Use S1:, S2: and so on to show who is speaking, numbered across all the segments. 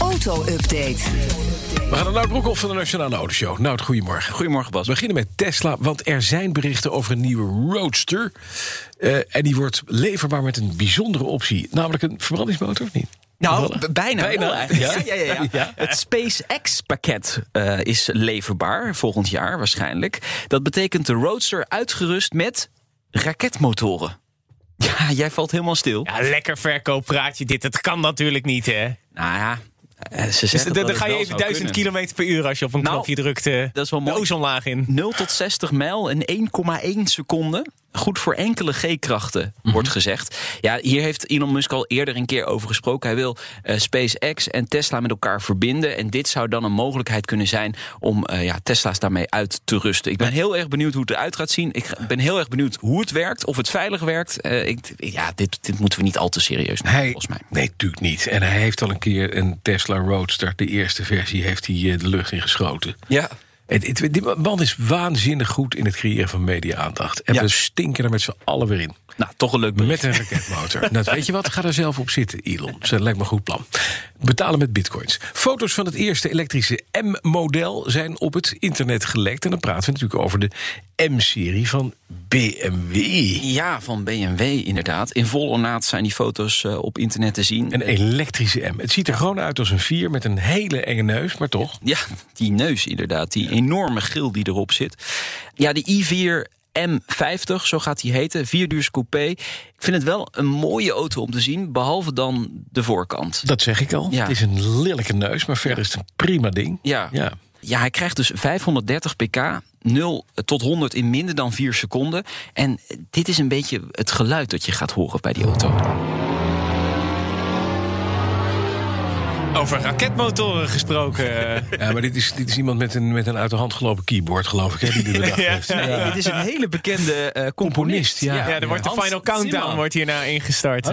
S1: Auto-update.
S2: We gaan naar Nout Broekhoff van de Nationale Autoshow. Nout, goedemorgen.
S3: Goedemorgen Bas.
S2: We beginnen met Tesla, want er zijn berichten over een nieuwe Roadster. Eh, en die wordt leverbaar met een bijzondere optie. Namelijk een verbrandingsmotor, of niet?
S3: Nou, b- bijna,
S2: Bijna,
S3: wel eigenlijk.
S2: ja?
S3: Ja, ja, ja,
S2: Ja.
S3: Het SpaceX-pakket eh, is leverbaar, volgend jaar waarschijnlijk. Dat betekent de Roadster uitgerust met raketmotoren. Ja, jij valt helemaal stil.
S4: Ja, lekker verkooppraatje dit. Het kan natuurlijk niet, hè?
S3: Nou ja, eh, ze
S4: Dus
S3: zeggen
S4: dan,
S3: dat
S4: dan
S3: het
S4: ga
S3: wel
S4: je
S3: zou
S4: even 1000
S3: kunnen.
S4: km per uur als je op een
S3: Nou,
S4: knopje drukt. eh,
S3: dat is wel
S4: de
S3: mooi.
S4: ozonlaag in.
S3: 0 tot 60 mijl in 1,1 seconde. Goed voor enkele G-krachten,
S2: Mhm.
S3: wordt gezegd. Ja, hier heeft Elon Musk al eerder een keer over gesproken. Hij wil eh, SpaceX en Tesla met elkaar verbinden. En dit zou dan een mogelijkheid kunnen zijn om eh, ja, Tesla's daarmee uit te rusten. Ik ben heel erg benieuwd hoe het eruit gaat zien. Ik ga- ben heel erg benieuwd hoe het werkt, of het veilig werkt. Eh, ik, ja, dit, dit moeten we niet al te serieus nemen,
S2: Hij,
S3: volgens mij.
S2: nee, natuurlijk niet. En hij heeft al een keer een Tesla Roadster, de eerste versie, heeft hij eh, de lucht in geschoten.
S3: Ja,
S2: Het, het- die man is waanzinnig goed in het creëren van media-aandacht. En
S3: Ja.
S2: we stinken er met z'n allen weer in.
S3: nou, toch een leuk bericht.
S2: Met een raketmotor. nou, weet je wat? Ga er zelf op zitten, Elon. Dus dat lijkt me een goed plan. Betalen met bitcoins. Foto's van het eerste elektrische M-model zijn op het internet gelekt. En dan praten we natuurlijk over de M-serie van BMW.
S3: Ja, van BMW inderdaad. In vol ornaat zijn die foto's eh, op internet te zien.
S2: Een elektrische M. Het ziet er gewoon uit als een 4 met een hele enge neus, maar toch.
S3: Ja, die neus inderdaad. Die enorme gil die erop zit. Ja, de i4 M50, zo gaat die heten. Vierduurs coupé. Ik vind het wel een mooie auto om te zien. Behalve dan de voorkant.
S2: Dat zeg ik al.
S3: Ja.
S2: Het is een lelijke neus, maar verder is het een prima ding.
S3: Ja.
S2: ja.
S3: Ja, hij krijgt dus 530 pk. 0 tot 100 in minder dan 4 seconden. En dit is een beetje het geluid dat je gaat horen bij die auto.
S4: Over raketmotoren gesproken. eh.
S2: Ja, maar dit is, dit is iemand met een, met een uit de hand gelopen keyboard, geloof ik. Hè, die de bedacht
S4: Ja.
S2: heeft.
S3: Nee, dit is een hele bekende eh, componist.
S2: ja.
S4: ja, er wordt de
S3: Hans
S4: Final Countdown
S3: Zimmer.
S4: wordt hierna ingestart. eh.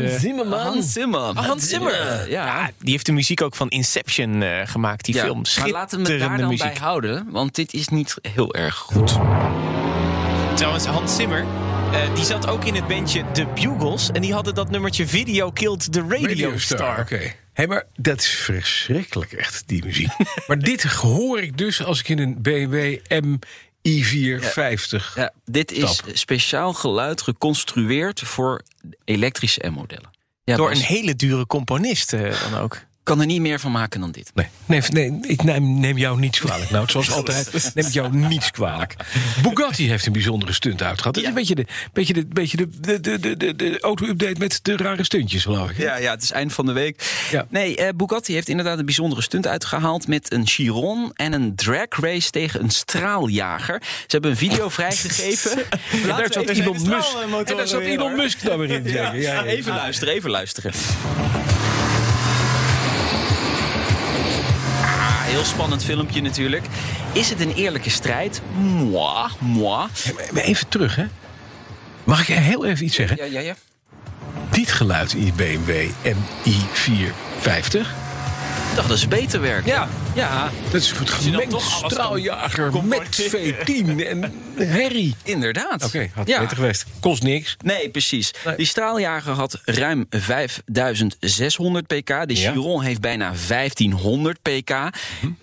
S3: Hans Zimmer.
S4: Hans Zimmer.
S3: Ja.
S4: Ja, die heeft de muziek ook van Inception eh, gemaakt, die
S3: Ja,
S4: film.
S3: maar
S4: Schitterende
S3: laten we het daar dan
S4: muziek.
S3: bij houden, want dit is niet heel erg goed.
S4: Trouwens, Hans Zimmer, eh, die zat ook in het bandje The Bugles. En die hadden dat nummertje Video Killed the Radio,
S2: Radio Star.
S4: Star.
S2: Oké. Hé, maar dat is verschrikkelijk echt, die muziek. maar dit hoor ik dus als ik in een BMW M i450.
S3: Ja, dit is
S2: Stap.
S3: speciaal geluid geconstrueerd voor elektrische M-modellen. Ja,
S4: Door
S3: Bas,
S4: een hele dure componist eh, dan ook.
S3: kan er niet meer van maken dan dit.
S2: Nee, nee, nee, ik neem, neem jou niets kwalijk. Nou, zoals altijd neem ik jou niets kwalijk. Bugatti heeft een bijzondere stunt uitgehad. Het is een beetje de, beetje de, beetje de, de, de, de, de, de auto-update met de rare stuntjes, geloof ik. hè?
S3: Ja, ja, het is eind van de week.
S2: Ja.
S3: Nee, eh, Bugatti heeft inderdaad een bijzondere stunt uitgehaald... met een Chiron en een drag race tegen een straaljager. Ze hebben een video vrijgegeven. Laten
S2: En daar
S3: we
S2: zat
S3: even-
S2: Elon Musk.
S4: straalmotoren
S2: En daar zat
S4: weer,
S2: Elon
S4: hoor.
S2: Musk nou weer in. zeker. Ja, ja, ja.
S3: Even luisteren, even luisteren. Ah, Heel spannend filmpje natuurlijk. Is het een eerlijke strijd? Moi, moi.
S2: Maar Even terug, hè? Mag ik heel even iets zeggen?
S3: Ja, ja, ja.
S2: Dit geluid in je BMW MI450.
S3: Dat is beter werk.
S2: Ja.
S3: ja.
S2: Dat is goed
S3: je dan
S2: gemengd.
S3: toch alles
S2: Straaljager
S3: kan
S2: met V10 en herrie.
S3: Inderdaad.
S2: Oké, had
S3: ja.
S2: beter geweest. Kost niks.
S3: Nee, precies.
S2: Nee.
S3: Die straaljager had ruim 5600 pk. De
S2: Ja. Mhm.
S3: Chiron heeft bijna 1500 pk.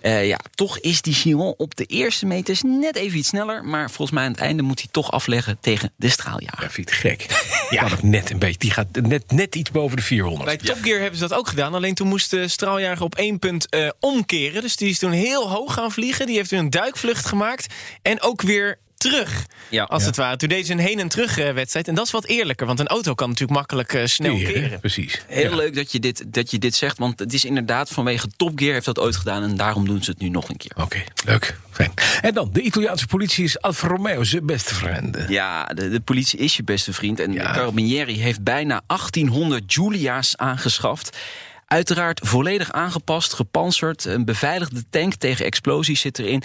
S3: Eh, ja, toch is die Chiron op de eerste meters net even iets sneller. Maar volgens mij aan het einde moet hij toch afleggen tegen de straaljager.
S2: Ja, vind je het gek? Ja. het net een beetje. Die gaat net, net iets boven de 400.
S4: Bij Top Gear hebben ze dat ook gedaan. Alleen toen moest de straaljager op één punt eh, omkeren. Dus die is toen heel hoog gaan vliegen. Die heeft toen een duikvlucht gemaakt. En ook weer terug,
S3: Ja.
S4: als het ware. Toen deed ze een heen- en terugwedstrijd. En dat is wat eerlijker. Want een auto kan natuurlijk makkelijk eh, snel
S2: Teren,
S4: keren.
S2: Precies.
S3: Heel leuk dat je, dit, dat je dit zegt, want het is inderdaad vanwege Top Gear heeft dat ooit gedaan. En daarom doen ze het nu nog een keer.
S2: Oké, leuk. Fijn. En dan, de Italiaanse politie is Alfa Romeo zijn beste vrienden.
S3: Ja, de, de politie is je beste vriend. En
S2: Ja.
S3: Carabinieri heeft bijna 1800 Julia's aangeschaft. Uiteraard volledig aangepast, gepantserd. Een beveiligde tank tegen explosies zit erin.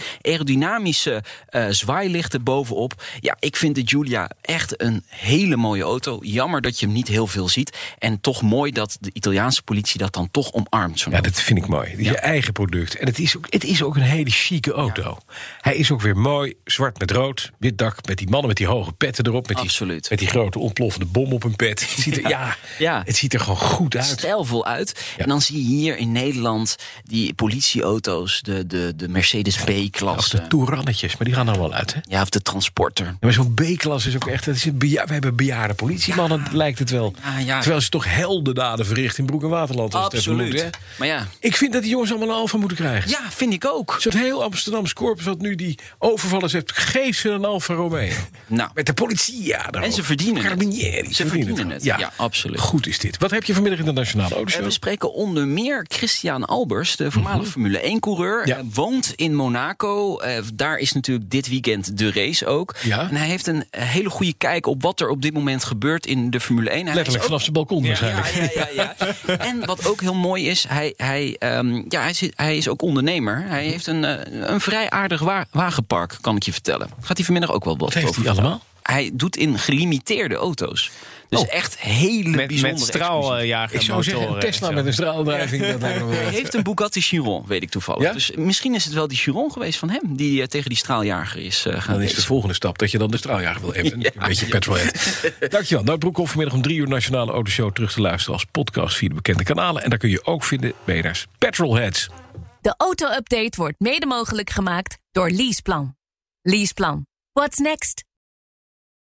S3: Aerodynamische eh, zwaailichten bovenop. Ja, ik vind de Giulia echt een hele mooie auto. Jammer dat je hem niet heel veel ziet. En toch mooi dat de Italiaanse politie dat dan toch omarmt. zo'n
S2: Ja, dat vind ik mooi. Je eigen product. En het is, ook, het is ook een hele chique auto. Hij is ook weer mooi, zwart met rood, wit dak, met die mannen met die hoge petten erop. Met
S3: Absoluut.
S2: Die, met die grote ontploffende bom op hun pet. Het ziet er, ja.
S3: Ja.
S2: het ziet er gewoon goed uit.
S3: stijlvol uit. En dan zie je hier in Nederland die politieauto's, de, de, de Mercedes
S2: Als
S3: B-klasse.
S2: de toerannetjes, maar die gaan er wel uit, hè?
S3: Ja, of de transporter.
S2: Ja, maar zo'n B-klas is ook echt. Dat is een beja- we hebben bejaarde politiemannen, lijkt het wel.
S3: Ja, ja.
S2: Terwijl ze toch heldendaden verricht in Broek en Waterland. als het even moet, hè?
S3: Maar ja,
S2: Ik vind dat die jongens allemaal een alfa moeten krijgen.
S3: ja, vind ik ook.
S2: Zo'n heel Amsterdams korps wat nu die overvallers heeft, geef ze een Alfa Romeo.
S3: Nou,
S2: Met de politie, ja. daarop.
S3: En ze verdienen het.
S2: Carabinieri,
S3: Ze verdienen het. Ja, absoluut.
S2: Goed is dit. Wat heb je vanmiddag in de Nationale
S3: eh,
S2: Autoshow?
S3: we spreken onder meer Christian Albers, de voormalig Formule 1-coureur.
S2: Mhm. Ja.
S3: Woont in Monaco. Eh, daar is natuurlijk dit weekend de race ook.
S2: Ja.
S3: En hij heeft een eh, hele goede kijk op wat er op dit moment gebeurt in de Formule 1. Hij is
S2: Letterlijk
S3: ook
S2: vanaf zijn balkon waarschijnlijk.
S3: Ja, ja, ja, ja. En wat ook heel mooi is, hij, hij, ehm, ja, hij, zit, hij is ook ondernemer. Hij
S2: Mhm.
S3: heeft een, eh, een vrij aardig wa- wagenpark, kan ik je vertellen. Gaat hij vanmiddag ook wel wat
S2: Wat heeft
S3: over
S2: hij
S3: vertellen.
S2: allemaal?
S3: Hij doet in gelimiteerde auto's. Dus
S2: Oh.
S3: echt hele
S4: Met,
S3: bijzondere
S4: met
S3: exclusieve.
S4: straaljager
S2: Ik zou zeggen, een Tesla met een straaldrijving. dat lijkt me wel
S3: Hij
S2: wat.
S3: heeft een Bugatti Chiron, weet ik toevallig.
S2: eh, Ja?
S3: Dus misschien is het wel die Chiron geweest van hem... die eh, tegen die straaljager is eh, gaan
S2: Dan Nou, is de
S3: racen.
S2: volgende stap dat je dan de straaljager wil hebben. Een beetje petrolhead. Dankjewel. Nou, Broekhoff vanmiddag om drie uur Nationale Autoshow terug te luisteren als podcast via de bekende kanalen. En daar kun je ook vinden BNR's Petrolheads.
S1: De auto-update wordt mede mogelijk gemaakt door Leaseplan. Leaseplan. What's next?